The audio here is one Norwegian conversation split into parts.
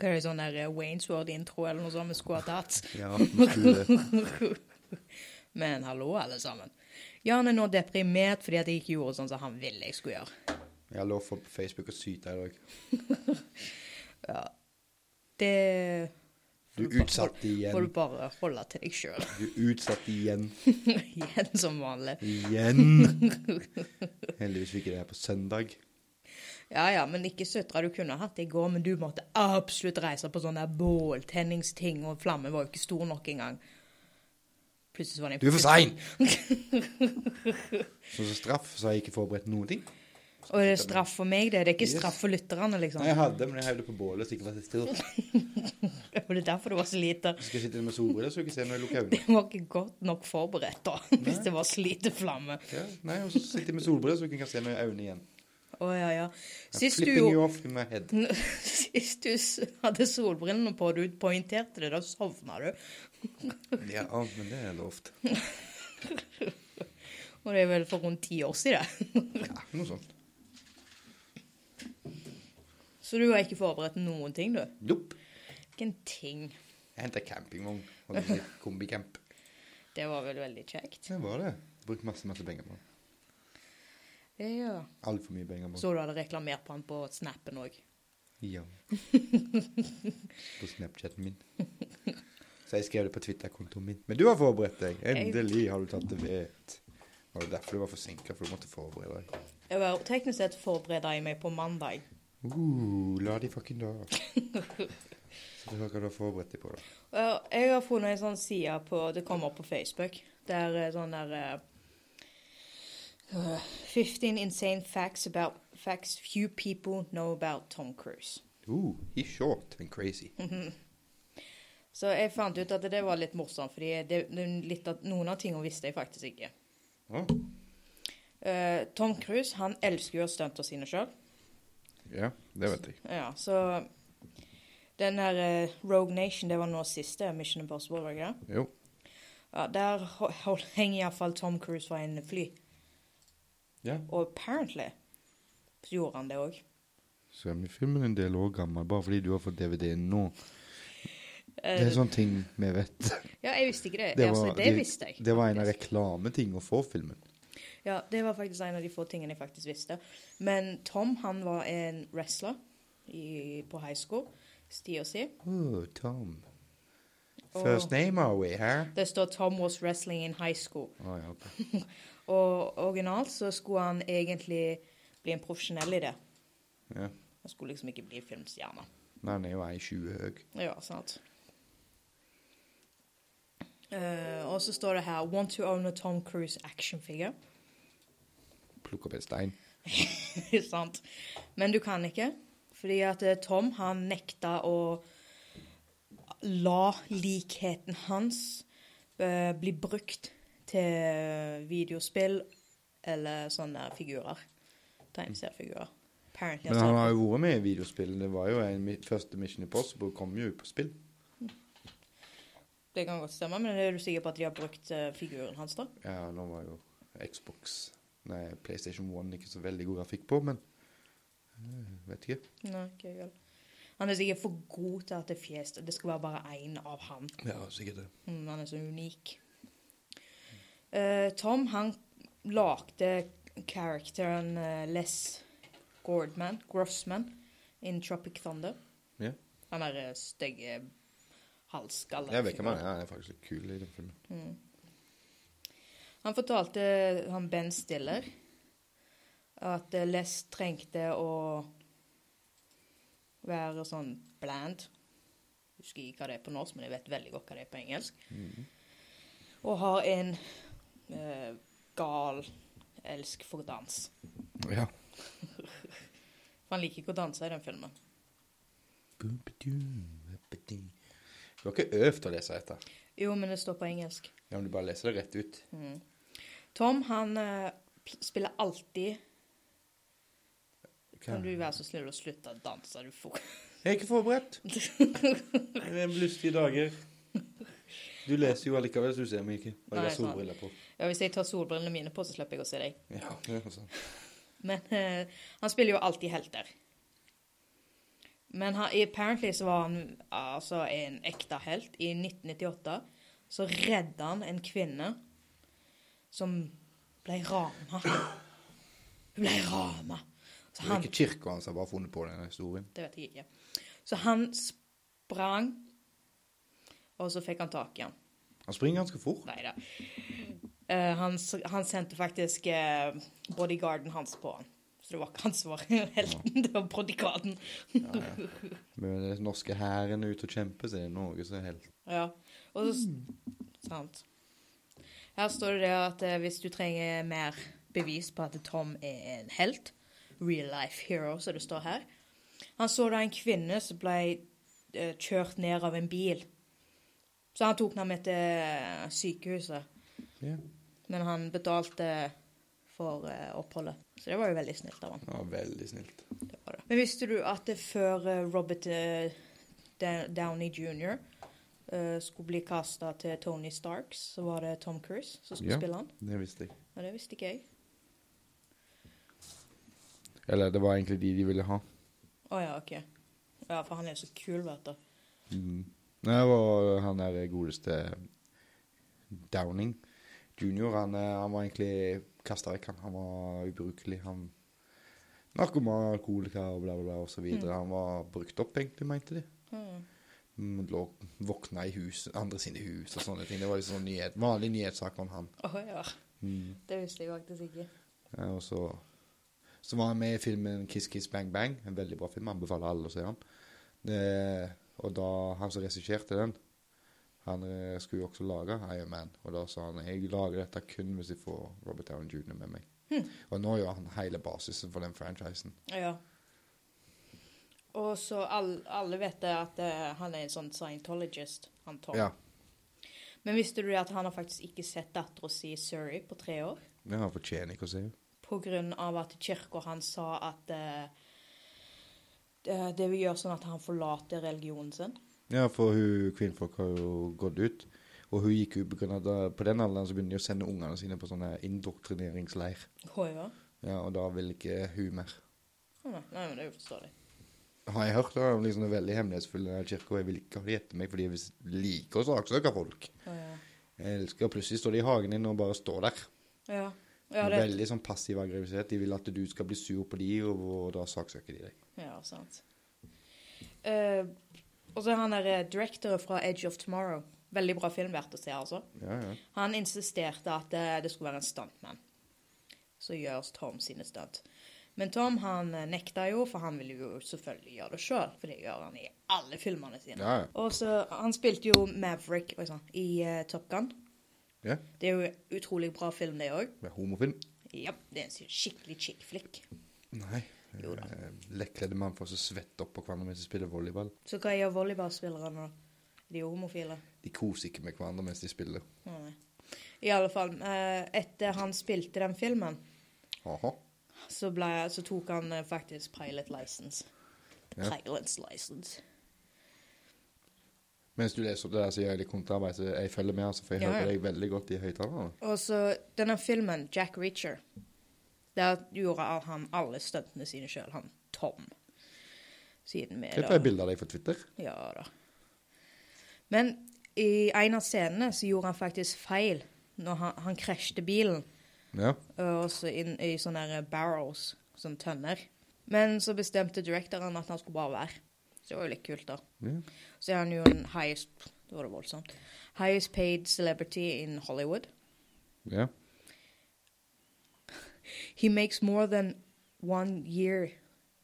Hva er det sånn der eh, Wainsword-intro eller noe sånt vi skulle ha tatt? Ja, vi skulle det. Men hallo, alle sammen. Jan er nå deprimert fordi at jeg ikke gjorde sånn som han ville jeg skulle gjøre. Jeg lå folk på Facebook og syta i dag. Det Du utsatte får igjen. du bare holde til deg sjøl. Du utsatte igjen. Igjen som vanlig. Igjen. Heldigvis fikk jeg det her på søndag. Ja ja, men ikke søtera du kunne hatt i går, men du måtte absolutt reise på sånn der båltenningsting, og flammen var jo ikke stor nok engang. Plutselig så var den Du er for sein! Så som straff så har jeg ikke forberedt noen ting. Og det er straff for meg, det. Det er ikke Yes. straff for lytterne, liksom. Nei, jeg hadde, men jeg heiv det på bålet så jeg ikke var så stor. Og det er derfor du var så lite Så skal jeg sitte med solbriller så jeg ikke ser når jeg lukker øynene. Jeg var ikke godt nok forberedt, da, hvis det var så lite flamme. Ja, nei, og så sitter jeg med solbriller så jeg ikke kan se når jeg har øynene igjen. Å ja, ja. I'm Sist du, flipping you off in my head. sist du s- hadde solbrillene på, du poengterte det, da sovna du. Ja, ja, men det er lovt. Og det er vel for rundt ti år siden. Ja, noe sånt. Så du har ikke forberedt noen ting, du? Nope. Ikke en ting. Jeg henta campingvogn. Hadde litt kombicamp. Det var vel veldig kjekt. Det var det. Brukt masse, masse penger på den. Ja. Altfor mye penger på den. Så du hadde reklamert på han på snappen òg. Ja. På Snapchaten min. Så jeg skrev det på Twitter-kontoen min. Men du har forberedt deg. Endelig har du tatt det ved. Var det derfor du var forsinka? For du måtte forberede deg. Jeg var teknisk sett forbereda jeg meg på mandag. Uh, la de fucking da. Så hva kan du ha forberedt deg på, da? Ja, Eh, Jeg har funnet en sånn side på Det kommer på Facebook. Der eh, sånn der eh, øh, 15 insane facts about facts few people know about Tom Cruise. Uh, he's short and crazy. Så jeg fant ut at det var litt morsomt, fordi det, det er litt at noen av tingene visste jeg faktisk ikke. Å, Eh, Tom Cruise han elsker jo å gjøre stunter sine sjøl. ja, det vet jeg. Ja, så den her eh, Rogue Nation, det var nå siste Mission Impossible, var det ikke det? Jo. Ja, der ho- hold- henger iallfall Tom Cruise fra en fly. Ja. Og apparently så gjorde han det òg. Så er filmen en del år gammel bare fordi du har fått DVD-en nå. Det er sånn- sånne ting vi vet. Eh, Ja, jeg visste ikke det. Det, altså, det, visste jeg. Det var en av reklametingene for filmen. Ja, det var faktisk en av de få tingene jeg faktisk visste. Men Tom, han var en wrestler i, på high school. Sti og si. Oh, Tom. First name are we, hæ? Det står 'Tom was wrestling in high school'. Å ja, ok. Og originalt så skulle han egentlig bli en profesjonell i det. Ja. Han skulle liksom ikke bli filmstjerne. Nei, han er jo 1,20 høy. Ja, sant. Eh, og så står det her 'Want to own a Tom Cruise action figure'. Plukker opp en stein. sant. Men du kan ikke, fordi at eh, Tom han nekta å la likheten hans eh, bli brukt til eh, videospill eller sånne figurer. Tegneseriefigurer. Apparently, altså. Men han har jo vært med i videospill. Det var jo en mi- første Mission Impossible kom jo på spill. Det kan godt stemme, men er du sikker på at de har brukt eh, figuren hans, da? Ja, nå var jo Xbox Nei, PlayStation 1 ikke så veldig god grafikk på, men eh, Vet ikke. Nei, ikke jeg heller. Han er sikkert for god til at det er fjes. Det skal være bare én av han. Ja, sikkert det. Mm, han er så unik. Eh, Tom, han lagde karakteren eh, Les Gordman, Grossman, in Tropic Thunder. Ja. Han er eh, stygge halvskalle. Jeg vet ikke om han er. Han er faktisk litt kul i den filmen. Mm. Han fortalte han Ben Stiller at eh, Les trengte å være sånn bland. Husker ikke hva det er på norsk, men jeg vet veldig godt hva det er på engelsk. Mm. Og har en eh, gal elsk for dans. Ja. For han liker ikke å danse i den filmen. Du har ikke øvd å lese dette. Jo, men det står på engelsk. Ja, men du bare leser det rett ut. Mm. Tom, han eh, pl- spiller alltid Kan du Jeg være så snill å slutte å danse, du får er ikke forberedt. Det er lystige dager. Du leser jo allikevel, så du ser meg ikke. Og Nei, jeg har solbriller på. Ja, Hvis jeg tar solbrillene mine på, så slipper jeg å se deg. Ja, det er sånn. Men eh, han spiller jo alltid helter. Men han, apparently så var han altså en ekte helt. I 1998 så redda han en kvinne som ble rana. Hun ble rana. Så Det er han ikke kirka hans som har bare funnet på denne historien. Det vet jeg ikke. Så han sprang, og så fikk han tak i han. Han springer ganske fort. Nei da. Eh, han, s- han sendte faktisk eh, bodyguarden hans på han. Så det var ikke hans svar. Helten, det var bodyguarden. Men den norske hæren er ute og kjemper, så det er Norge som er helt Ja. Og så s- Sant. Her står det det at eh, hvis du trenger mer bevis på at Tom er en helt, real life hero, som det står her Han så da en kvinne som ble eh, kjørt ned av en bil. Så han tok henne med til eh, sykehuset. Ja. Men han betalte for eh, oppholdet. Så det var jo veldig snilt av han. Ja, veldig snilt. Det var det. Men visste du at det før eh, Robert eh, Da- Downey jr. eh, skulle bli kasta til Tony Starks, så var det Tom Cruise som skulle Ja. spille han? Det visste jeg. Ja, det visste ikke jeg. Eller det var egentlig de de ville ha. Å ja, OK. Ja, for han er jo så kul, vet du. Mm. Det var han der godeste Downing junior. Han, eh, han var egentlig kasta vekk, han. Han var ubrukelig. Han Narkoman, alkoholiker og bla, bla, bla og så videre. Han var brukt opp, egentlig, mente de. Mm. Mm, Lå, våkna i hus, andre sine hus og sånne ting. Det var liksom sånn nyhet, vanlig nyhetssak om han. Å ja. Mm. Det visste jeg faktisk ikke. Ja, Eh, og så, så var han med i filmen 'Kiss Kiss Bang Bang'. En veldig bra film. Anbefaler alle å se den. Det, og da han som regisserte den, han eh, skulle jo også lage Iron Man. Og da sa han 'Jeg lager dette kun hvis jeg får Robert Downey jr. med meg'. Og nå gjør han hele basisen for den franchisen. Ja. Og så all, alle vet det at eh, han er en sånn scientologist, han Tom. Ja, Men visste du det at han har faktisk ikke sett dattera si Surrey på tre år? ja, Han fortjener ikke å se henne. På grunn av at kirka hans sa at eh, det det vil gjøre sånn at han forlater religionen sin. Ja, for hun, kvinnfolk har jo gått ut. Og hun gikk jo på grunn av da- På den alderen så begynner de å sende ungene sine på sånne indoktrineringsleir. Å ja. Ja, og da vil ikke hun mer. Å Nei, nei, men det forstår jeg. har jeg hørt om liksom det veldig hemmelighetsfulle i kirka, og jeg vil ikke ha det etter meg, fordi jeg vis- liker å saksøke folk. Å ja. Jeg elsker, og plutselig står de i hagen din og bare står der. Ja. Ja, det, Veldig sånn passiv aggressivitet. De vil at du skal bli sur på de, og, og da saksøker de deg. ja sant. Eh, og så er han der eh, director fra Edge of Tomorrow. Veldig bra film verdt å se, altså. Ja, ja. Han insisterte at eh, det skulle være en stuntman som gjør Tom sine stunt. Men Tom han eh, nekta jo, for han ville jo selvfølgelig gjøre det sjøl. For det gjør han i alle filmene sine. Ja, ja. Og så, Han spilte jo Maverick oi, sånn, i eh, Top Gun. ja. Det er jo en utrolig bra film, det òg. Med homofilm? Ja, det er en skikkelig chick flick. Nei. Jo da. Eh, Lettkledde mannfolk som svetter opp på hverandre mens de spiller volleyball. Så hva gjør volleyballspillerne, da? Er de homofile? De koser ikke med hverandre mens de spiller. Å, nei. I alle fall, eh, etter han spilte den filmen, Aha. så, ble, så tok han eh, faktisk pilot license. Ja. Pilot's license. Mens du leser opp det der, så gjør jeg litt kontraarbeid. så Jeg følger med, altså, for jeg Ja, ja. hører deg veldig godt i høyttalerne. Og så denne filmen, Jack Reacher, der gjorde al- han alle stuntene sine sjøl, han Tom. Siden vi Dette er bilder av deg på Twitter. Ja da. Men i en av scenene så gjorde han faktisk feil når han, han krasjte bilen. Ja. Og så inn i sånne her barrels, sånne tønner. Men så bestemte directoren at han skulle bare være. Så det var jo litt kult, da. ja. Så er han jo en highest Det var det voldsomt. Highest paid celebrity in Hollywood. ja. He makes more than one year.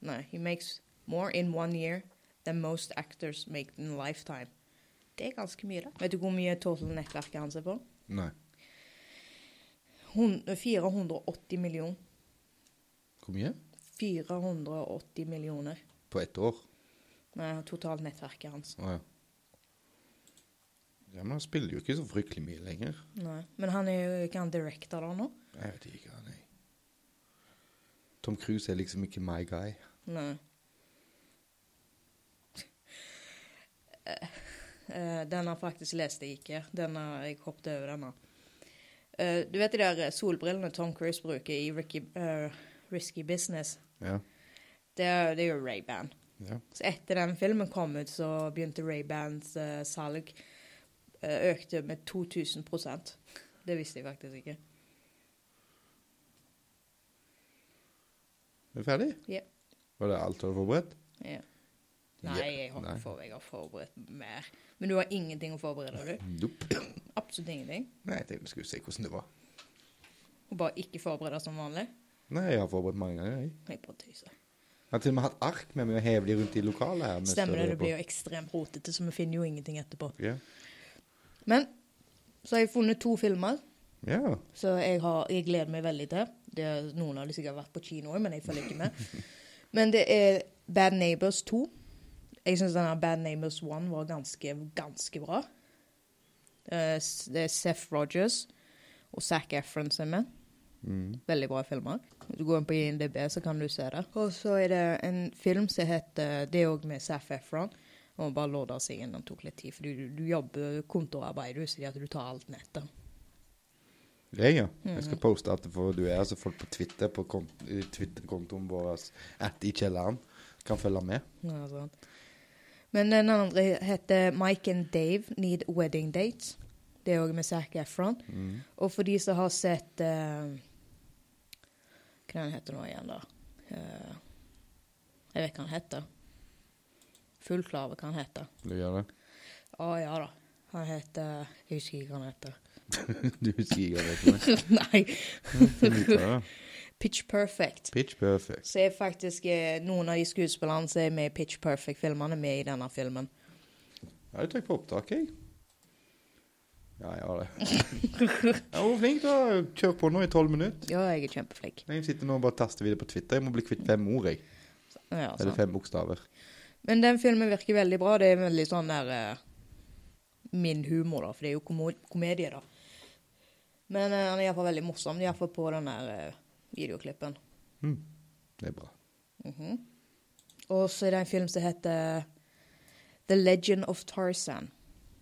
No, he makes more in one year than most actors make in a lifetime. Det er ganske mye, da. Vet du hvor mye total-nettverket hans er på? Nei. Hun- eh, 480 millioner. Hvor mye? 480 millioner. På ett år? Nei, totalnettverket hans. Å ja. Ja, Men han spiller jo ikke så fryktelig mye lenger. Nei. Men han er jo ikke han director da nå? Jeg vet ikke, han er Tom Cruise er liksom ikke my guy. Nei. Eh, eh, Denne faktisk leste jeg ikke. Denne, jeg hoppet over denne. Eh, Du vet de der solbrillene Tom Cruise bruker i Ricky, eh, Risky Business? Ja. Det er, det er jo Ray-Ban. Ja. Så etter den filmen kom ut, så begynte Ray-Bans eh, salg eh, økte med 2000 Det visste jeg faktisk ikke. Er du ferdig? Ja. Var det alt du hadde forberedt? Ja. Ja, Nei, jeg har, nei. ikke for, jeg har forberedt mer. Men du har ingenting å forberede, du? Nope. Absolutt ingenting? Nei, jeg tenkte vi skulle se hvordan det var. Og bare ikke forberede som vanlig? Nei, jeg har forberedt mange ganger, jeg. Jeg bare tøyser. Jeg har til og med hatt ark med meg og hevet de rundt i lokalet her. mens Stemmer det, jeg det blir jo ekstremt rotete, så vi finner jo ingenting etterpå. på. Ja. Men så har jeg funnet to filmer ja. så jeg, har, jeg gleder meg veldig til. Det, noen av dem sikkert har vært på kino, men jeg følger ikke med. Men det er Bad Neighbors 2. Jeg syns denne Bad Neighbors 1 var ganske, ganske bra. Eh, s- Det er Seth Rogers og Zac Efron som er med. Mm. Veldig bra filmer. Hvis Du går inn på INDB, så kan du se det. Og så er det en film som heter Det er òg med Zac Efron. Og bare lodde seg inn, den tok litt tid, for du, du jobber kontorarbeid, du, så at du tar alt nettet. Jeg, ja. Jeg Mm. skal poste at for du er, så folk på Twitter, på kont i Twitter-kontoen vår, at i kjelleren, kan følge med. Ja, sant. Men den andre heter Mike and Dave Need Wedding Dates. Det er òg med Zac Efron. Mm. Og for de som har sett eh, Hva er den heter nå igjen, da? Eh, jeg vet hva den heter. Full klar over hva den heter. Du gjør det? Å ja da. Han heter Jeg husker ikke hva han heter. Du sier det til meg. Nei. Du liker det. Pitch Perfect. Pitch perfect. Så er faktisk eh, noen av de skuespillerne som er med i Pitch Perfect-filmene, med i denne filmen. Ja, du trykker på opptak, jeg. Ja, jeg har det. Ja, hvor flink du har kjørt på nå i tolv minutter. Ja, jeg er kjempeflink. Jeg sitter nå og bare taster videre på Twitter. Jeg må bli kvitt fem ord, jeg. Ja, sant. Eller fem bokstaver. Men den filmen virker veldig bra. Det er veldig sånn der eh, Min humor, da. For det er jo komo komedie, da. Men eh, han er iallfall veldig morsom. Iallfall på den der eh, videoklippen. Mm. Det er bra. Mhm. Og så er det en film som heter The Legend of Tarzan.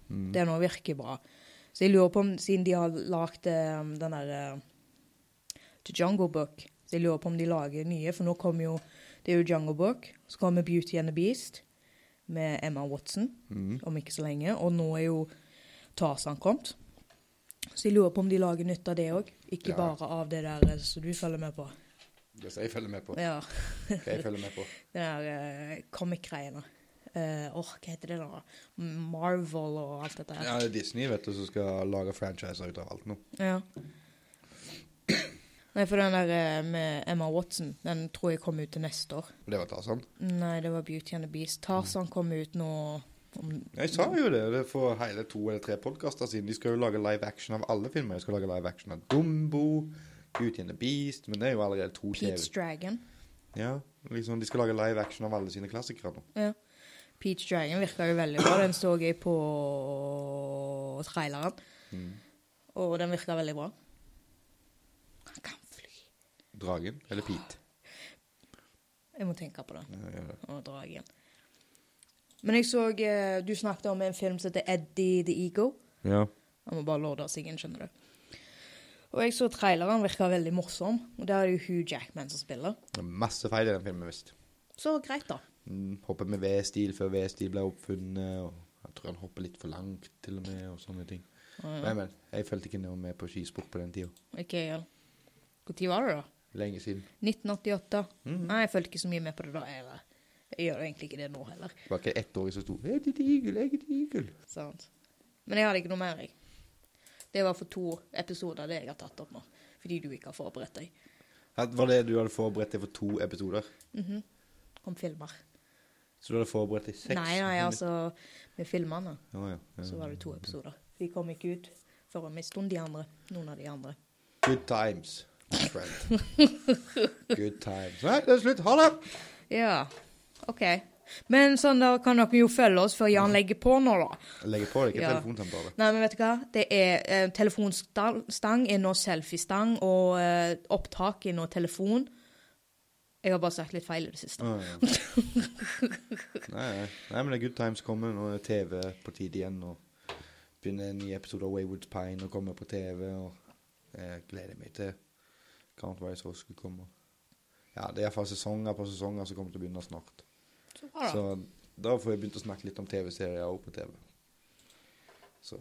Mm. Det nå virker bra. Så jeg lurer på om, siden de har lagd eh, den der eh, The Jungle Book Så jeg lurer på om de lager nye, for nå kommer jo Det er jo Jungle Book. Så kommer Beauty and the Beast med Emma Watson Mm. om ikke så lenge. Og nå er jo Tarzan kommet. Så jeg lurer på om de lager nytt av det òg. Ikke Ja. bare av det der eh, som du følger med på. Det skal jeg følge med på. Ja. Skal jeg følge med på. Det der uh, comic-greiene. Eh, Åh, hva heter det da? Marvel og alt dette her. Ja, det er Disney, vet du, som skal lage franchiser ut av alt nå. Ja. Nei, for den der eh, med Emma Watson, den tror jeg kom ut til neste år. Mm. Og det var Tarzan. Nei, det var Beauty and the Beast. Tarzan kom ut nå om Jeg sa jo det, det er for hele to eller tre podkaster siden. De skal jo lage live action av alle filmer. De skal lage live action av Dumbo, Beauty and the Beast Men det er jo allerede to TV. Peach Dragon. Ja, liksom, De skal lage live action av alle sine klassikere nå. Ja. Peach Dragon virka jo veldig bra. Den så jeg på traileren, Mm. og den virka veldig bra. Han kan fly. Dragen eller Pete. Jeg må tenke på det. Ja, ja, ja. og dragen. Men jeg så eh, Du snakket om en film som heter Eddie the Ego. Ja. Han må bare lorde seg inn, skjønner du. Og jeg så traileren virka veldig morsom, og der er det jo Hugh Jackman som spiller. Det er Masse feil i den filmen, visst. Så greit, da. Mm, Hopper med V-stil før V-stil ble oppfunnet. og Jeg tror han hopper litt for langt, til og med, og sånne ting. Nei, men jeg fulgte ikke noe med på skisport på den tida. Ok, ja. Når var det, da? Lenge siden. 1988? Mhm. Nei, jeg fulgte ikke så mye med på det da heller. Jeg gjør egentlig ikke det nå heller. Det var ikke ett år jeg som sto Jeg er et igel, jeg er et igel. Sant. Men jeg hadde ikke noe mer, jeg. Det var for to episoder det jeg har tatt opp nå. Fordi du ikke har forberedt deg. At- Var det du hadde forberedt deg for to episoder? Om filmer. Så du hadde forberedt deg seks? Nei, nei, altså med filmene. Ja, ja, ja. Så var det to episoder. De kom ikke ut før om en stund, de andre. Noen av de andre. Good times, my friend. Good times. Nei, det er slutt. Ha det! Ja, OK. Men sånn da kan dere jo følge oss før Jan legger på nå, da. Jeg legger på, det er ikke Ja. telefonsamtale. Nei, men vet du hva? Det er eh, Telefonstang er nå selfiestang, og eh, opptak er nå telefon. Jeg har bare sagt litt feil i det siste. Å, ja. Nei, nei. nei, men det er good times kommer. Nå er TV på tide igjen. Og begynner en ny episode av Wayward Pine å komme på TV. Og jeg gleder meg til Count Wise Rose skulle komme. Ja, det er iallfall sesonger på sesonger som kommer til å begynne snart. Ja da. Så da får jeg begynt å snakke litt om TV-serier òg på TV. Så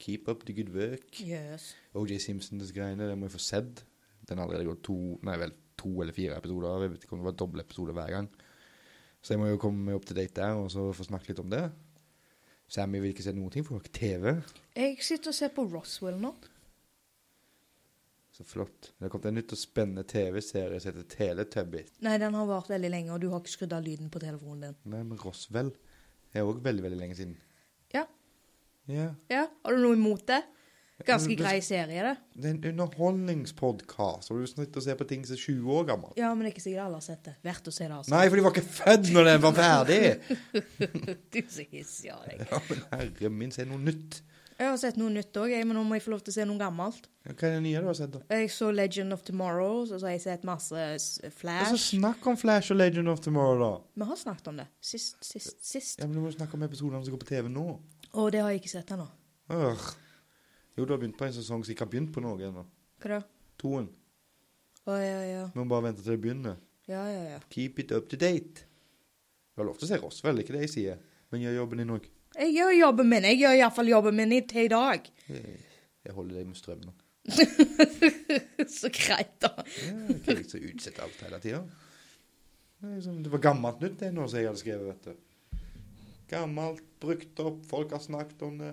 keep up the good work. Yes. OJ Simpsons greiene, det må jeg få sett. Den har allerede gått to, nei vel, to eller fire episoder av. Jeg vet ikke om det var doble episoder hver gang. Så jeg må jo komme meg opp til date der og så få snakke litt om det. Sammy vil ikke se noen ting, for hun har ikke TV. Jeg sitter og ser på Roswell nå. Så flott. Det har kommet en nytt og spennende TV-serie som heter Teletubbies. Nei, den har vart veldig lenge, og du har ikke skrudd av lyden på telefonen din. Nei, men Roswell er òg veldig, veldig lenge siden. Ja. Ja. ja. Har du noe imot Mm, det? Ganske Ja, men- grei serie, det. Det er en underholdningspodkast, og du sitter og ser på ting som er 20 år gammel. Ja, men det er ikke sikkert alle har sett det. Verdt å se det, altså. Nei, for de var ikke født når den var ferdig! Du er så hissig av deg. Ja, men herre min, se noe nytt. Jeg har sett noe nytt òg, men nå må jeg få lov til å se noe gammelt. Ja, Hva er det nye du har sett, da? Jeg så Legend of Tomorrow, så har jeg sett masse s- Altså, Flash. snakk om Flash og Legend of Tomorrow, da. Vi har snakket om det sist, sist, sist. Ja, men Du må jo snakke om episodene som går på TV nå. Og det har jeg ikke sett ennå. Ør. Jo, du har begynt på en sesong som ikke har begynt på noe ennå. Hva da? Toen. Å, ja, ja. Vi må bare vente til det begynner. Ja, ja, ja. Keep it up to date. Du har lov til å se Roswell, ikke det jeg sier. Men gjør jobben din òg. Jeg gjør jobben min. Jeg gjør iallfall jobben min i- til i dag. Jeg holder deg med strøm nå. Så greit, da. Ja, jeg kan liksom utsette alt hele tida. Det, er liksom, det var gammelt nytt, det nå som jeg hadde skrevet, vet du. Gammelt, brukt opp, folk har snakket om det.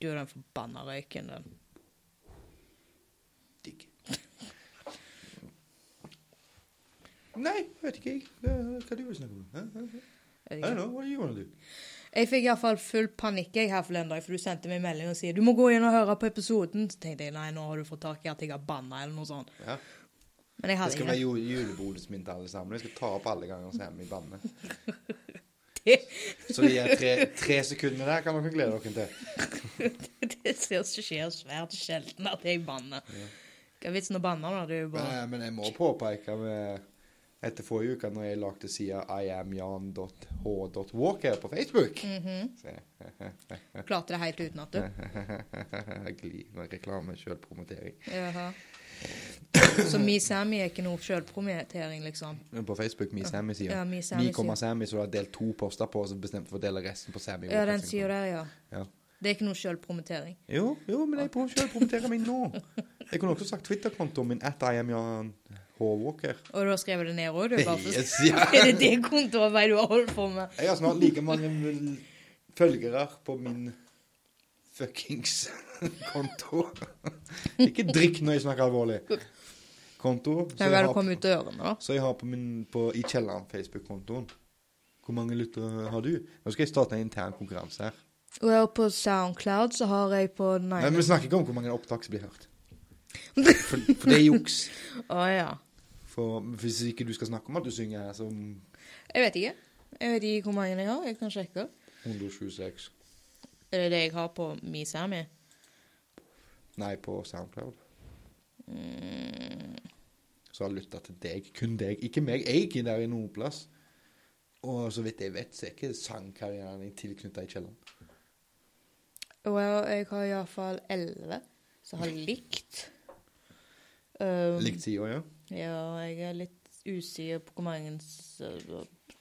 Du den forbanna røyken, den. Digg. Nei, vet ikke jeg. Det er hva du vil snakke om. Hæ? Hæ? Hæ? I don't know, what do you wanna do? Jeg fikk iallfall full panikk jeg her forleden dag, for du sendte meg en melding og sier du må gå inn og høre på episoden. Så tenkte jeg nei, nå har du fått tak i at jeg har banna, eller noe sånt. Ja. Men jeg Det hadde skal ikke være det. ju- julebonusen min til alle sammen. Jeg skal ta opp alle ganger som hjemme i banne. Så de her tre, tre sekundene der kan dere glede dere til. Det ser- skjer svært sjelden at jeg banner. Ja. Hva er vitsen å banne når du bare Eh, Men, men jeg må påpeke med etter forrige uke når jeg lagde sida iamjan.h.walker på Facebook. Mhm. Se. Klarte det helt utenat, du. Gli med reklame, sjølpromotering. Jaha. Så Me Sammy er ikke noe sjølpromotering, liksom? Men På Facebook, Mi Sammy-sida. Ja, Me Sammy Vi kommer sier Sammy, så du har delt to poster på, og så bestemte for å dele resten på Sammy. Ja, den sida der, ja. Ja. Det er ikke noe sjølpromotering. Jo, jo, men jeg prøver sjølpromotere meg nå. Jeg kunne også sagt Twitter-kontoen min at iamjan.h.walker. Og du har skrevet det ned òg, du? Bare for... Yes, ja. Er det det kontoarbeidet du har holdt på med? Jeg har snart like mange følgere på min fuckings konto. Ikke drikk når jeg snakker alvorlig. Konto. Kan jo være det kommer ut dørene, da. så jeg har på min på, i kjelleren Facebook-kontoen. Hvor mange lyttere har du? Nå skal jeg starte en intern konkurranse her. Og jeg er på Soundcloud, så har jeg på Nei. Nei, men Vi snakker ikke om hvor mange opptak som blir hørt. For, for det er juks. Å ja. For Hvis ikke du skal snakke om at du synger her som Jeg vet ikke. Jeg vet ikke hvor mange jeg har. Jeg kan sjekke. 126 Er det det jeg har på Me Sammy? Nei, på Soundcloud. Mm. Så har lytta til deg, kun deg. Ikke meg. Jeg er ikke der i noen plass. Og så vidt jeg vet, så er ikke sangkarrieren din tilknytta i kjelleren. Well, jeg har iallfall elleve som har likt. Um, Likt sida, ja. Ja, jeg er litt usikker på hvor mange s-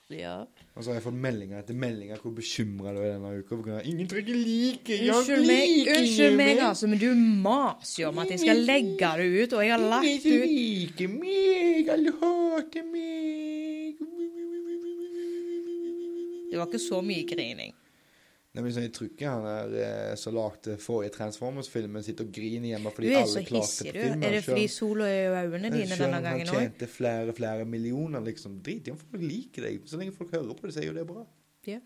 Ja. Og så har jeg fått meldinger etter meldinger hvor bekymra du er denne uka. På grunn av ingen trykker like. Jeg Unnskyld meg, liker unnskyld meg meg. altså, men du maser jo om at jeg skal legge det ut, og jeg har lagt Ingen ut liker meg. Alle hater meg. Det var ikke så mye grining. Nei, men sånn, Jeg tror ikke han der eh, som lagde forrige Transformers-filmen, sitter og griner hjemme Du fordi er så alle klarte hissig, på du. filmen. Er det selv- fordi sola er i øynene dine Selv denne om gangen Han òg? tjente flere flere millioner, liksom. Drit i om folk liker deg. Så lenge folk hører på det, så er jo det bra. Ja.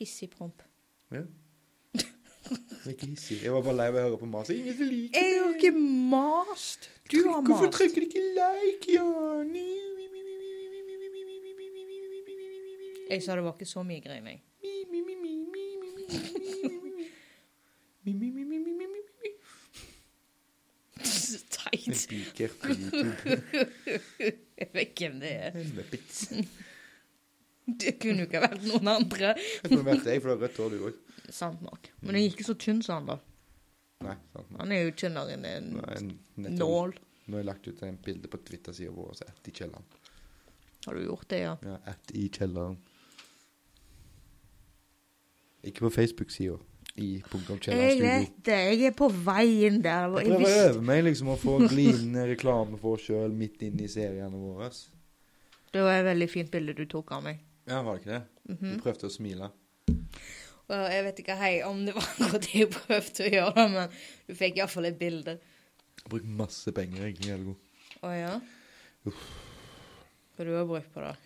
Hissig promp. Ja. Det er Ikke hissig. Jeg var bare lei av å høre på mas. Ingen som liker Jeg har ikke mast! Du har Hvorfor Hvorfor mast. trykker de ikke like, Jan? Jeg sa det var ikke så mye grining. Så En Teit. spiker på YouTube. Jeg vet hvem det er. En muppet. Det kunne jo ikke vært noen andre. Jeg kunne vært deg, for du har rødt hår, du òg. Sant nok. Men jeg er ikke så tynn som han, da. Nei, sant. Han er jo tynnere enn en Nå har jeg nettopp- nål. nå har jeg lagt ut en bilde på Twitter-sida vår som er i kjelleren. Har du gjort det, ja? Ja, at i kjelleren. Ikke på Facebook-sida. I punktum kjelleren Jeg studio. vet det. Jeg er på veien der. og Jeg Jeg prøver å visste øve meg liksom å få glidende reklame for oss sjøl midt inn i seriene våre. Det var et veldig fint bilde du tok av meg. Ja, var det ikke det? Du prøvde å smile. Og jeg vet ikke hei, om det var akkurat det jeg prøvde å gjøre, men du fikk iallfall et bilde. Jeg har brukt masse penger. jeg er Ikke helt god. Å ja? Hva du har brukt på det?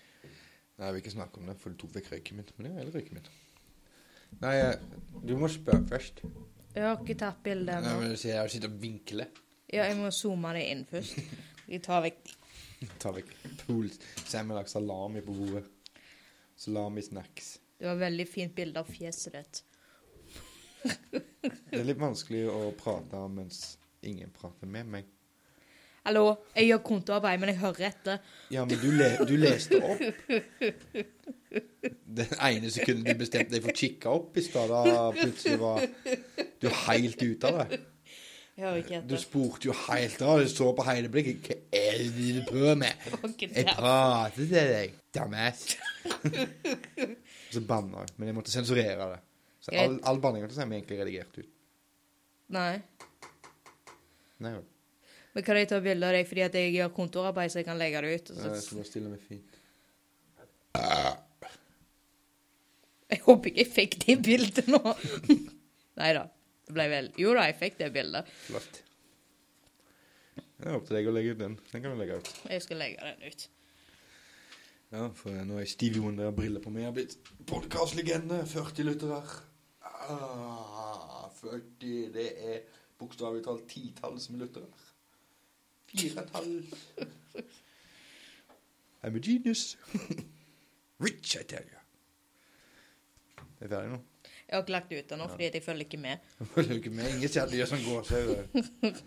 Nei, jeg vil ikke snakke om det, for du tok vekk røyken min. Men det er hele røyken min. Nei, jeg- du må spørre først. Jeg har ikke tatt bilde Nei, ennå. men du sier jeg sitter og vinkler. Ja, jeg må zoome det inn først. Jeg tar vekk Ta vekk pol. Semmelak salami på bordet. Salami-snacks. Det var et veldig fint bilde av fjeset ditt. Det er litt vanskelig å prate om mens ingen prater med meg. Hallo, jeg gjør kontoarbeid, men jeg hører etter. Ja, men du, le du leste opp. Det ene sekundet du bestemte deg for å kikke opp i stad, da plutselig var du helt ute av det. Jeg hører ikke Du etter. spurte jo helt av. Du så på hele blikket. Hva er det du prøver med? Det var ikke Jeg der. prater til deg, dumbass. Så banna jeg, men jeg måtte sensurere det. Så all, Greit. all banninga til Sam er egentlig redigert ut. Nei. Nei vel. Men kan jeg ta bilde av deg fordi at jeg gjør kontorarbeid, så jeg kan legge det ut? Så Og jeg skal så... bare stille meg fint. Ah, Jeg håper ikke jeg fikk det bildet nå. Nei da. Det ble vel Jo da, jeg fikk det bildet. Flott. Det er opp til deg å legge ut den. Den kan du legge ut. Jeg skal legge den ut. Ja, for nå er Stevie Wonder og briller på meg. Jeg har blitt podkastlegende. 40 lyttere. Ah, 40 Det er bokstavelig talt titalls med lyttere. Fire tall. I'm a genius. Rich, I tell you. Det er ferdig nå. Jeg har ikke lagt det ut ennå, fordi at jeg følger ikke med. Det er jo ikke meg. Ingen kjæledyr som går seg. sånn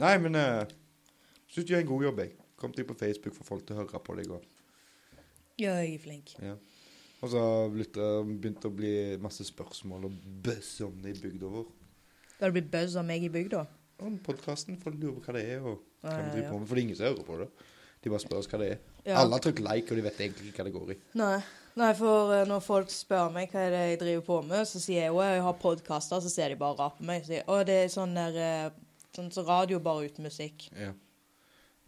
Nei, men uh, syns du gjør en god jobb, jeg. Kom deg på Facebook, for folk til å høre på deg. Og. Ja, jeg er flink. Ja. Og så begynte, begynte å bli masse spørsmål og buzz om det i bygda vår. Skal det bli buzz av meg i bygda? Om podkasten. Folk lurer på hva det er, og hva Ja, vi ja, Ah, ja. driver på med. For det er ingen som hører på det. De bare spør oss hva det er. Ja. Alle har trykt like, og de vet egentlig ikke hva det går i. Nei. Nei, for eh, når folk spør meg hva er det jeg driver på med, så sier jeg jo jeg har podkaster, så ser de bare rart på meg. Så sier, å, det er sånn der eh, sånn som radio, bare uten musikk. Ja.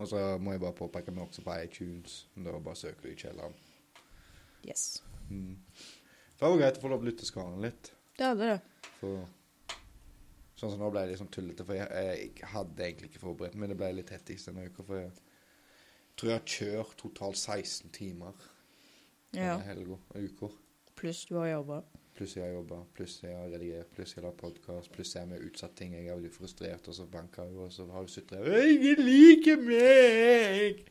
Og så må jeg bare påpeke meg også på iTunes. Da bare søker du i kjelleren. Yes. Mm. Det var greit å få lov til å lytte skaren litt. Det hadde det. For sånn som nå ble det litt sånn tullete, for jeg, jeg hadde egentlig ikke forberedt meg. Det ble litt hettis denne uka, for jeg tror jeg har kjørt totalt 16 timer Ja. denne helga og uka. Pluss du har jobba. Pluss jeg har jobba, pluss jeg har redigert, pluss jeg har lagd podkast, pluss jeg har med utsatt ting. Jeg er jo frustrert, og så banker hun, og så har hun sutra. Ingen liker meg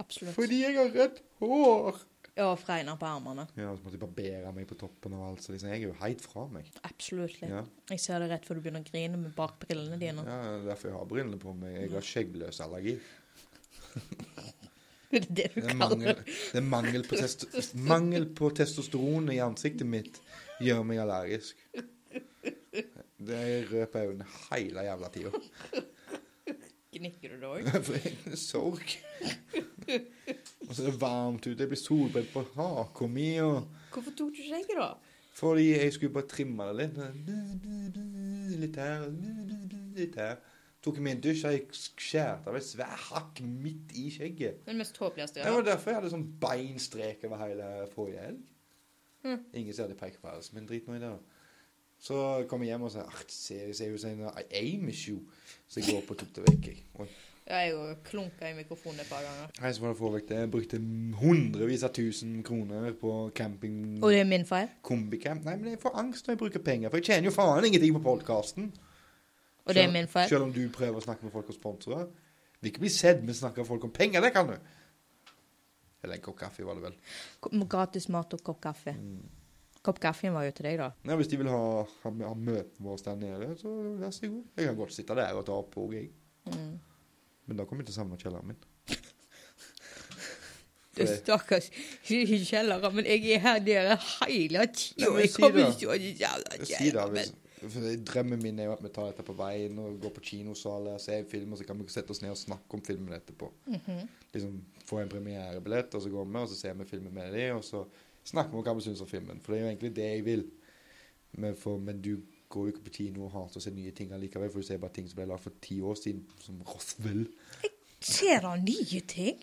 Absolutt. fordi jeg har rødt hår! Jeg har fregner på armene. Ja, og så måtte jeg barbere meg på toppen og alt, så liksom, jeg er jo heit fra meg. Absolutt. Ja. Jeg ser det rett før du begynner å grine med bak brillene dine. ja, det er derfor jeg har brillene på meg. Jeg har skjeggløsallergi. Det er det du Det er kaller mangel, det. det er mangel, på, testo, mangel på testosteron i ansiktet mitt gjør meg allergisk. Det er rød på øynene hele jævla tida. Gnikker du det òg? For egen sorg. Og så er det varmt ute. Jeg blir solbrent på haka mi. og- Hvorfor tok du skjegget, da? Fordi jeg skulle bare trimme det litt. Litt her, litt her. Tok meg en dusj og jeg skjærte av et svært hakk midt i skjegget. Den mest håpløse Det jeg var derfor jeg hadde sånn beinstrek over hele forrige helg. Hm. Ingen ser det peker på oss, men drit nå i det. da. Så kom jeg hjem og sa at ser ser ut som en Amish, jo. Så jeg går opp og tok det vekk. jeg. Oi. Jeg har klunka i mikrofonen et par ganger. Nei, så var det få vekk det. Jeg brukte hundrevis av tusen kroner på camping... Og det er min feil? Kombicamp. Nei, men jeg får angst når jeg bruker penger, for jeg tjener jo faen ingenting på podkasten. Og det er min feil? Selv om du prøver å snakke med folk og sponsorer. Vil ikke bli sett, men snakker folk om penger, det kan du. Eller en kopp kaffe, var det vel. Mm. Kom- Gratis mat og kopp kaffe. Kopp kaffen var jo til deg, da. Nei, Hvis de vil ha, ha, ha møtene våre der nede, så vær så god. Jeg kan godt sitte der og ta opp òg, jeg. Mm. Men da kommer jeg til å savne kjelleren min. Du For det- stakkars i kjelleren, men jeg er her nede hele tida. Nei, men Jeg si kommer det. ikke å jævla Si da, kjelleren hvis, min. For det- Drømmen min er jo at vi tar dette på veien og går på kinosal og ser film, og så kan vi sette oss ned og snakke om filmen etterpå. Liksom Få en premierebillett, og så går vi og så ser vi filmen med dem, og så snakker vi om hva vi syns om filmen. For det er jo egentlig det jeg vil. Men, for, men du går jo ikke på kino og hater å se nye ting allikevel, for du ser bare ting som ble laget for ti år siden, som Roswell. Ser han nye ting?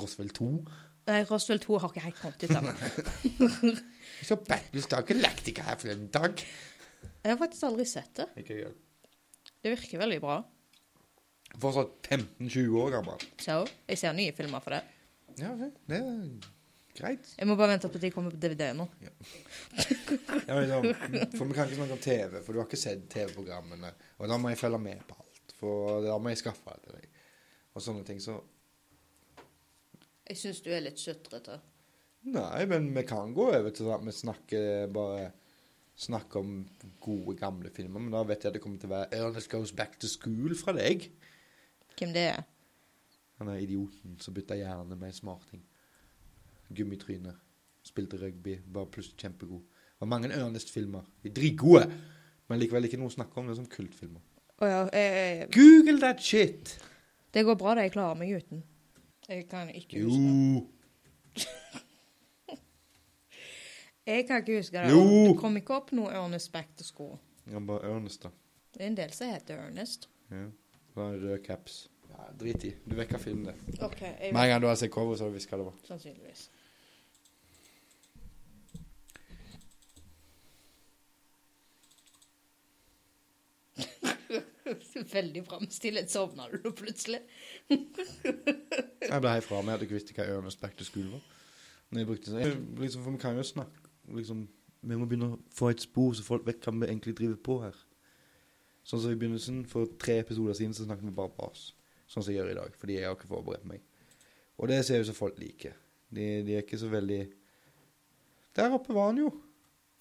Roswell 2. Nei, Roswell 2 har ikke helt kommet ut ennå. Jeg så Battlestar Galactica her for en dag. Jeg har faktisk aldri sett det. Ikke gjør det. Det virker veldig bra. Fortsatt 15-20 år gammel. Så jeg ser nye filmer for det. Ja, vel, det er greit. Jeg må bare vente på at de kommer på DVD nå. Ja, men liksom, for vi kan ikke snakke om TV, for du har ikke sett TV-programmene. Og da må jeg følge med på alt, for da må jeg skaffe det til deg. Og sånne ting, så Jeg syns du er litt sutrete. Nei, men vi kan gå over til at vi snakker bare Snakker om gode, gamle filmer, men da vet jeg at det kommer til å være Ernest Goes Back to School fra deg. Hvem det er? Han er idioten som bytta hjerne med en smarting. Gummitryne. Spilte rugby, var plutselig kjempegod. Det var mange Ernest-filmer. De er Dritgode! Men likevel ikke noe å snakke om det er som kultfilmer. Å ja, jeg, jeg, Google that shit! det går bra da jeg klarer meg uten. Jeg kan ikke Jo! huske Jeg kan ikke huske det. Jo. Det kom ikke opp noe Ernest Back to School. Han var Ernest, da. Det er en del som heter Ernest. Ja. Det var en rød caps. Ja, Drit i. Du vekker filmen, det. Ok, jeg Med en gang du har sett coveret, så har du visst hva det var. Sannsynligvis. Veldig bra med stillhet. Sovna du nå plutselig? Jeg ble helt fra meg at jeg ikke visste hva Ernest Back to School var. Når jeg brukte det. Liksom, for vi kan jo snakke liksom, Vi må begynne å få et spor, så folk vet hva vi egentlig driver på her. Sånn som i begynnelsen, for tre episoder siden, så snakket vi bare bas. Sånn som jeg gjør i dag, fordi jeg har ikke forberedt meg. Og det ser jeg ut som folk liker. De, de er ikke så veldig Der oppe var han jo!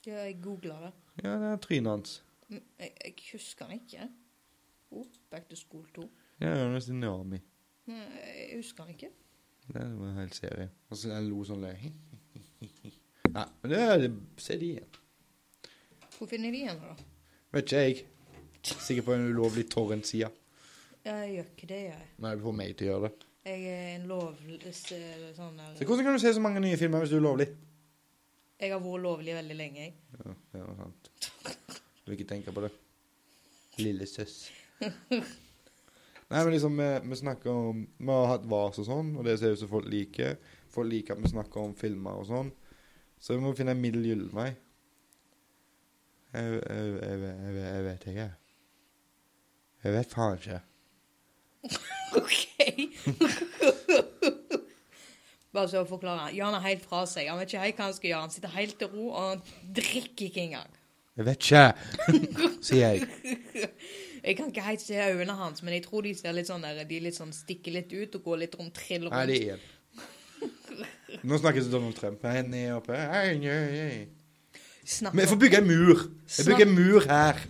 Ja, jeg googla det. Ja, det er trynet hans. Mm, Jeg, jeg husker den ikke. Oh, back to school 2. Det er Ernest i Niami. Nei, jeg husker den ikke. Det var en hel serie. Og så jeg lo sånn løy. Nei, men det er Se de igjen. Hvor finner de henne, da? Vet ikke jeg. Sikkert på en ulovlig torrent-side. Jeg gjør ikke det, jeg. Nei, du får meg til å gjøre det. Jeg er en lovløs eh, sånn der Så hvordan kan du se så mange nye filmer hvis du er lovlig? Jeg har vært lovlig veldig lenge, jeg. Ja, det er sant. Du vil ikke tenke på det. Lille søs. Nei, men liksom, vi, vi snakker om Vi har hatt VAS og sånn, og det ser ut som folk liker. Folk liker at vi snakker om filmer og sånn. Så vi må finne en middel gyllenvei. Jeg, jeg, jeg, jeg, jeg vet ikke. Jeg vet faen ikke. OK. Bare så å forklare. Jan er helt fra seg. Han vet ikke helt hva han skal gjøre. Han sitter helt til ro, og han drikker ikke engang. Jeg vet ikke, sier jeg. Jeg kan ikke helt se øynene hans, men jeg tror de ser litt sånn der, de litt sånn stikker litt ut og går litt rundt, triller Nei, rundt. det er én. Nå snakkes det Donald Trump. Han er oppe. Hei, hei, hei. Men Snakker, jeg får bygge en mur. Jeg bygger en mur her.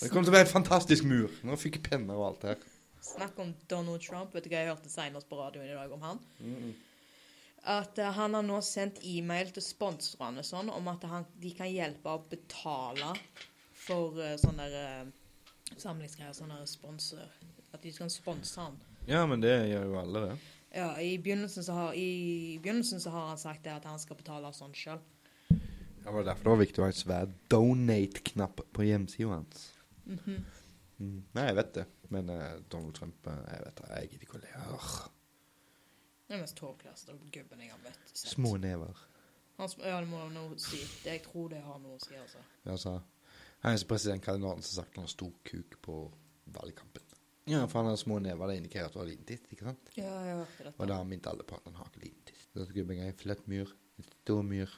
Det kommer til å være en fantastisk mur. Nå fikk jeg penner og alt her. snakk om Donald Trump. Vet du hva jeg hørte senest på radioen i dag om han? At eh, han har nå sendt e-mail til sponsorene og sånn om at han, de kan hjelpe å betale for eh, sånne der, eh, samlingsgreier, sånne der sponsor. At de skal sponse han. Ja, men det gjør jo alle, det. Ja, i begynnelsen så har, i begynnelsen så har han sagt det at han skal betale sånn sjøl. Ja, det var derfor det var viktig å ha en svær donate-knapp på hjemmesida hans. Mm, Nei, jeg vet det. Men eh, Donald Trump eh, Jeg vet det, jeg gidder ikke å le. Arr, Det er mest tåkeløse gubben jeg har møtt. sett. Små never. Han, sm- ja, det må han noe si. Det, jeg tror det har noe å si, altså. Altså, han er som presidentkandidaten som har sagt han har stor kuk på valgkampen. Ja, for han har små never. Det indikerer at du har liten titt, ikke sant? Ja, jeg hørte Og dette. da minte alle på at han har ikke liten tiss. Da skulle vi bygge en flott myr, en stor myr,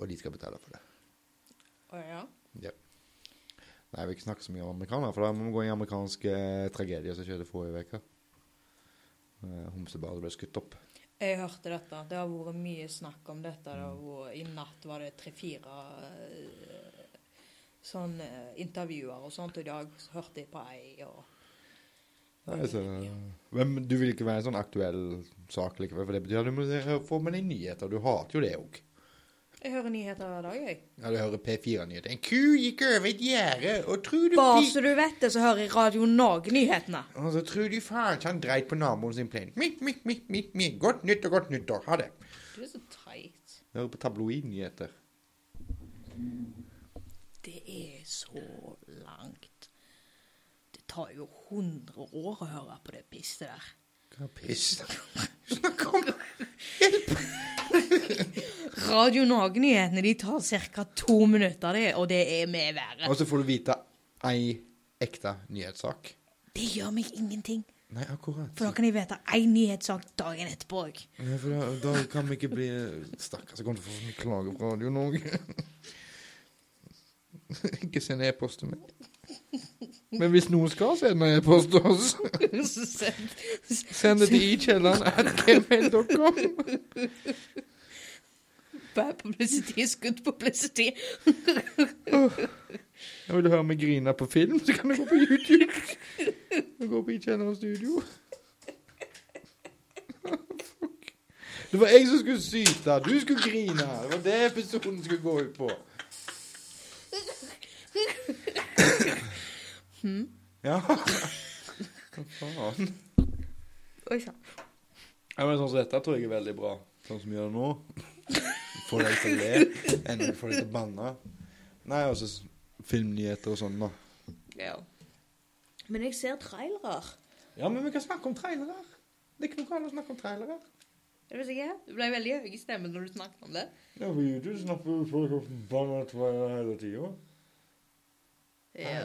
og de skal betale for det. Å ja? Ja. Nei, jeg vil ikke snakke så mye om amerikanere, for da må vi gå i eh, amerikanske tragedier som skjedde forrige uke. Eh, Homsebadet ble skutt opp. Jeg hørte dette. Det har vært mye snakk om dette. Det har vært, I natt var det tre-fire eh, sånn eh, intervjuer og sånt, og i dag så hørte jeg på ei og Nei, så, men du vil ikke være en sånn aktuell sak likevel, for det betyr at du må se- få med deg nyheter. Du hater jo det òg. Jeg hører nyheter hver dag, jeg. Ja, du hører P4-nyheter. En ku gikk over et gjerde, og tror du Bare pi- så du vet det, så hører Radio Norge-nyhetene. Og så tror du faen så han dreit på naboen sin plen. Mi, mi, mi, mi, mi. Godt nytt og godt nyttår. Ha det. Du er så teit. Jeg hører på tabloidnyheter. Det er så langt. Det tar jo 100 år å høre på det pisset der. Hva piss? Snakk om Hjelp! Radio Norge-nyhetene de tar ca. to minutter, det, og det er med været. Og så får du vite ei ekte nyhetssak. Det gjør meg ingenting, Nei, akkurat. for da kan jeg vite én nyhetssak dagen etterpå òg. Ja, for da, da kan vi ikke bli Stakkars, jeg kommer til å få så mye klager på Radio Norge. Ikke send e-post til meg. Men hvis noen skal sende e-post til oss, send det til ikjelland.gmail.com. Bad publicity is good publicity. Vil du høre meg grine på film, så kan du gå på YouTube. Du går på Ikjelland studio. Fuck. Det var jeg som skulle syte. Du skulle grine. Det var det episoden skulle gå ut på. Ja. Hva faen? Oi sann. Ja, men sånn som dette tror jeg er veldig bra. Sånn som vi gjør det nå. Får deg til å le, enda du får deg til å banne. Nei, altså s- filmnyheter og sånn, da. Ja. Men jeg ser trailere. Ja, men vi kan snakke om trailere. Det er ikke noe galt å snakke om trailere. Er det ikke? Du ble veldig høy i stemmen når du snakket om det. Ja, på YouTube snakker jo folk om forbanna trailere hele tida. Ja.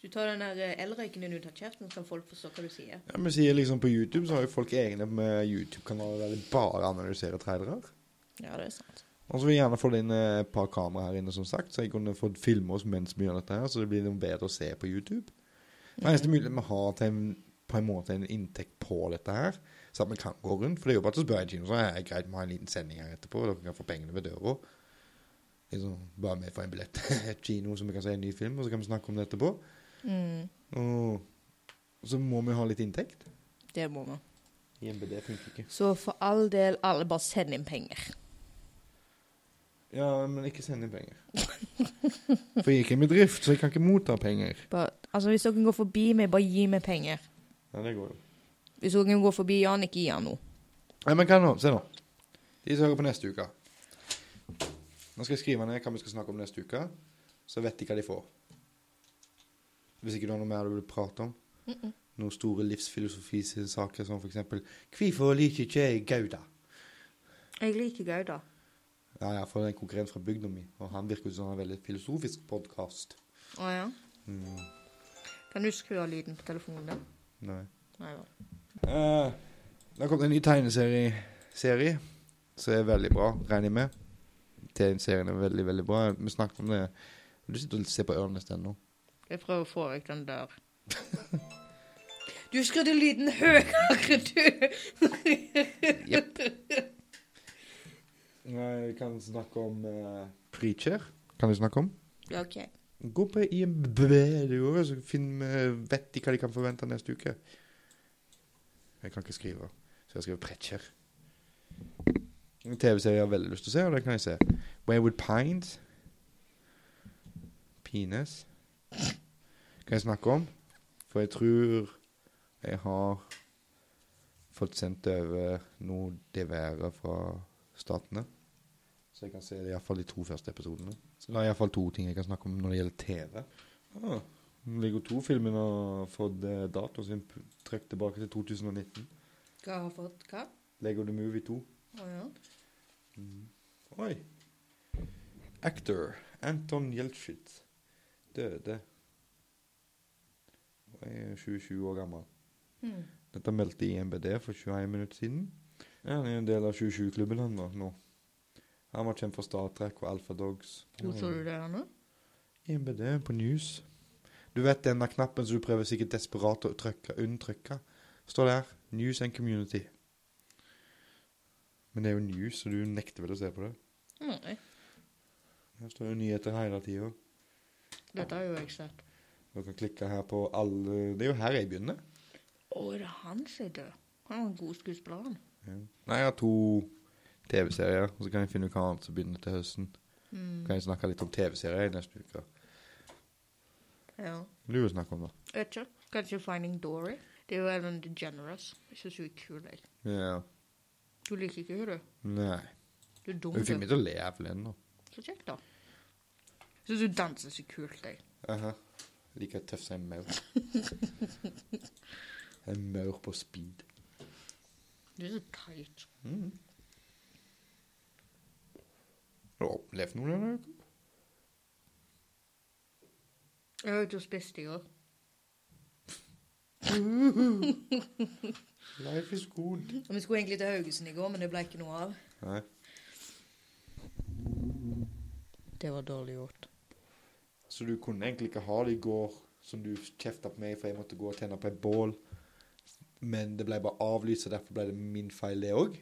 Du tar den der eh, elrøyken din ut av kjeften, så kan folk forstå hva du sier. Ja, men sier liksom På YouTube så har jo folk egne med YouTube-kanaler der de bare analyserer trailere. Ja, det er sant. Og så vil jeg gjerne få inn eh, et par kamera her inne, som sagt, så jeg kunne fått filme oss mens vi gjør dette her, så det blir noe bedre å se på YouTube. Det eneste mulighet vi har til en, på en måte en inntekt på dette her, så at vi kan gå rundt, for det er jo bare til å spørre en kino, så er det greit vi har en liten sending her etterpå, og dere kan få pengene ved døra. Liksom, bare med for en billett til et kino, så vi kan se en ny film, og så kan vi snakke om det etterpå. Mm, Og så må vi ha litt inntekt. Det må vi. IMBD funker ikke. Så for all del, alle bare send inn penger. Ja, men ikke send inn penger. For jeg er ikke en bedrift, så jeg kan ikke motta penger. Bare, altså, hvis dere går forbi meg, bare gi meg penger. Ja, det går jo. Hvis dere går forbi Jan, ikke gi han noe. Nei, men hva nå? Se nå. De som hører på neste uke. Nå skal jeg skrive ned hva vi skal snakke om neste uke, så vet de hva de får. Hvis ikke du har noe mer du vil prate om. Noen store livsfilosofiske saker som for eksempel Hvorfor liker ikke jeg Gouda? Jeg liker Gouda. Ja, ja, for det er en konkurrent fra bygda mi, og han virker jo som en veldig filosofisk podkast. Å ja? Mm. Kan du skru av lyden på telefonen din? Nei. Nei da. Eh, det har kommet en ny tegneserie serie, som er veldig bra, regner jeg med. Tegneserien er veldig, veldig bra. Vi snakket om det. Du sitter og ser på Ørnes ennå. Jeg prøver å få vekk den der. Du skrudde lyden høyere, du! Vi kan snakke om uh... Preacher. Kan vi snakke om? Ja, OK. Gå på IMDb, du òg, så finn, eh, vet de hva de kan forvente neste uke. Jeg kan ikke skrive, så jeg skriver Pretcher. En TV-serie jeg har veldig lyst til å se, og den kan jeg se. Wayward Pines. Penis. Kan jeg snakke om? For jeg tror jeg har fått sendt over noe diverre fra statene. Så jeg kan se det iallfall de to første episodene. Så det er iallfall to ting jeg kan snakke om når det gjelder TV. Ah, Lego 2-filmen har fått eh, datoen sin p- trukket tilbake til 2019. Hva har fått hva? Lego The Movie 2. Å ja. Oi. Actor Anton Jeltschit døde. Og er 27 år gammel. Hmm. Dette meldte IMBD for 21 minutter siden. Ja, han er en del av 27-klubben han da, nå. Han var kjent for Star Trek og Alpha Dogs. Hvor så du det her nå? IMBD på news. Du vet den der knappen som du prøver sikkert desperat å trykke, unntrykke. Står der. News and community. Men det er jo news, så du nekter vel å se på det. Nei. Her står jo nyheter hele tida. Dette har jo jeg sett. Du kan klikke her på alle Det er jo her jeg begynner. Å, er det han som er død? Han var en god skuespiller, han. Nei, jeg har to TV-serier. Og så kan jeg finne ut hva annet som begynner til høsten. Hmm, Kan jeg snakke litt om TV-serier i neste uke? Ja. Lurer å snakke om det. Jeg vet ikke. Kanskje Finding Dory? Det er jo Ellen DeGeneres. Jeg syns hun er kul, jeg. Ja. Du liker ikke henne, du. Nei. Du er dum, Hun fikk du. meg til å le av ennå. Så kjekt, da. Jeg syns hun danser så kult, jeg. Aha. Like tøff som en maur. en maur på speed. Du er så teit. Mm. Har du opplevd noe denne uka? Jeg var ute og spiste i går. Life is good. Og Vi skulle egentlig til Haugesund i går, men det ble ikke noe av. Nei. Det var dårlig gjort. Så du kunne egentlig ikke ha det i går, som du kjefta på meg for jeg måtte gå og tenne på et bål. Men det ble bare avlyst, og derfor ble det min feil, det òg.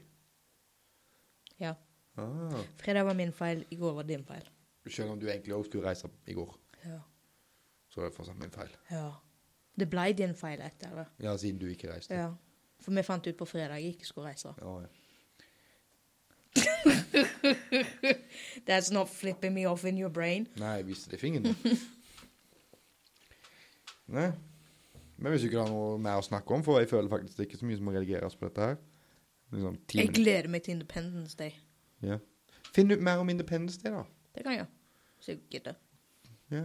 Ja. Ah. Fredag var min feil, i går var din feil. Selv om du egentlig òg skulle reise i går, Ja. så er det fortsatt min feil. ja. Det ble din feil etter det. Ja, siden du ikke reiste. Ja. For vi fant ut på fredag jeg ikke skulle reise. Ja, ja. That's not flipping sånn me off in your brain. Nei, jeg viste deg fingeren. din. Nei. Men hvis du ikke har noe mer å snakke om, for jeg føler faktisk det er ikke så mye som må redigeres på dette her. Liksom ti Jeg minutter. gleder meg til Independence Day. Ja. Finn ut mer om Independence Day, da. Det kan jeg gjøre. Hvis jeg gidder. Ja.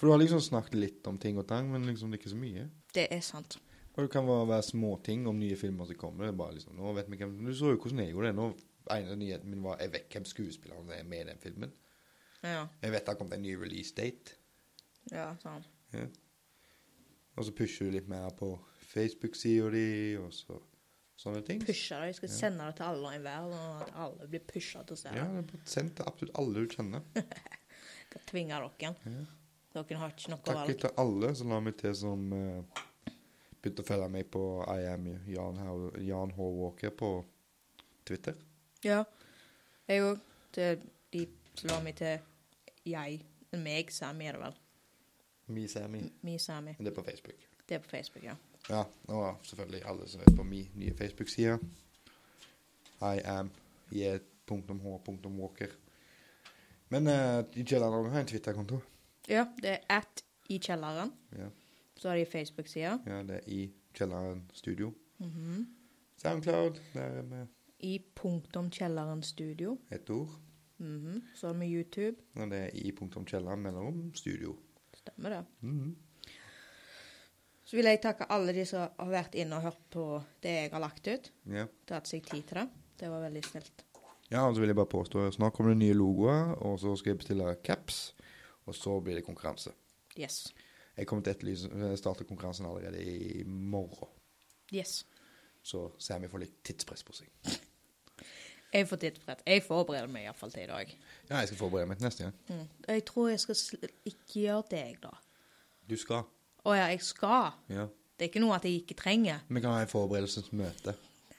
For du har liksom snakket litt om ting og tang, men liksom det er ikke så mye. Det er sant. Og det kan bare være småting om nye filmer som kommer. Det er bare liksom, nå vet vi hvem, Du så jo hvordan jeg gjorde det. Nå ene nyheten min var jeg vet hvem skuespilleren er med i den filmen. Ja. Jeg vet det har kommet en ny release date. Ja, sånn. sant. Ja. Og så pusher du litt mer på Facebook-sida di, og så sånne ting. Pusha det. Jeg skal Ja. sende det til alle og enhver, og at alle blir pusha til å se Ja, det. det er bare sendt til absolutt alle du kjenner. Skal tvinge dere. Ja. Dere har ikke noe Takk valg. til alle som la meg til som eh, begynte å følge meg på I am Jan, Hau- Jan H. Walker på Twitter. Ja. Jeg òg. De slår meg til jeg. Meg, Sammy, er det vel. Me Sammy. Me, Sammy. Mm. Det er på Facebook. Det er på Facebook, ja. Ja, og selvfølgelig alle som er på min nye Facebook-side. I am j.h.walker. Men eh, i kjelleren har jeg en Twitter-konto. Ja, det er at i kjelleren. Ja. Så har de Facebook-sida. ja, det er i kjelleren studio. Soundcloud, der er vi Mhm. I punktum kjelleren studio. ett ord. Mhm. Så har vi YouTube. Og det er i punktum kjelleren mellom studio. Stemmer det. Mhm. Så vil jeg takke alle de som har vært inne og hørt på det jeg har lagt ut. Ja. Tatt seg tid til det. Det var veldig snilt. Ja, og så vil jeg bare påstå snart kommer det nye logoer, og så skal jeg bestille caps, og så blir det konkurranse. Yes. Jeg kommer til å etterlyse- eh, starte konkurransen allerede i morgen, Yes. så Sammy får litt tidspress på seg. Jeg får tidsbrett. Jeg forbereder meg iallfall til i dag. Ja, jeg skal forberede meg til neste gang. Mm. Jeg tror jeg skal sl ikke gjøre det, jeg, da. Du skal. Å ja, jeg skal. Ja. Det er ikke noe at jeg ikke trenger. Vi kan ha et forberedelsesmøte.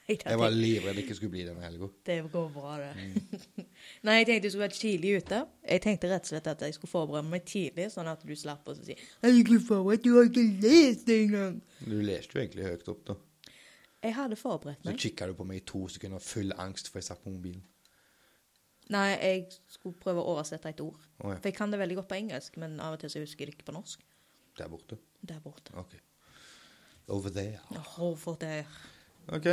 Jeg, Jeg var livredd det ikke skulle bli denne helga. Det går bra, det. Mm. Nei, jeg tenkte jeg skulle være tidlig ute. Jeg tenkte rett og slett at jeg skulle forberede meg tidlig, sånn at du slapp å si Herregud, for du har ikke lest det engang! Du leste jo egentlig høyt opp, da. Jeg hadde forberedt Så meg. kikka du på meg i to sekunder, full angst, for jeg satt på mobilen. Nei, jeg skulle prøve å oversette et ord. Å ja. For jeg kan det veldig godt på engelsk, men av og til så husker jeg det ikke på norsk. Der borte. Der borte. OK. Over there. Åh, for det er OK.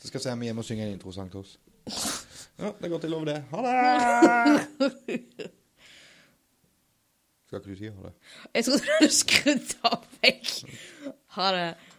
Så skal Sammy hjem og synge en introsang til oss. Ja, det går til over det. Ha det! Skal ikke du si ha det? Jeg trodde du hadde skrudd av meg. Ha det.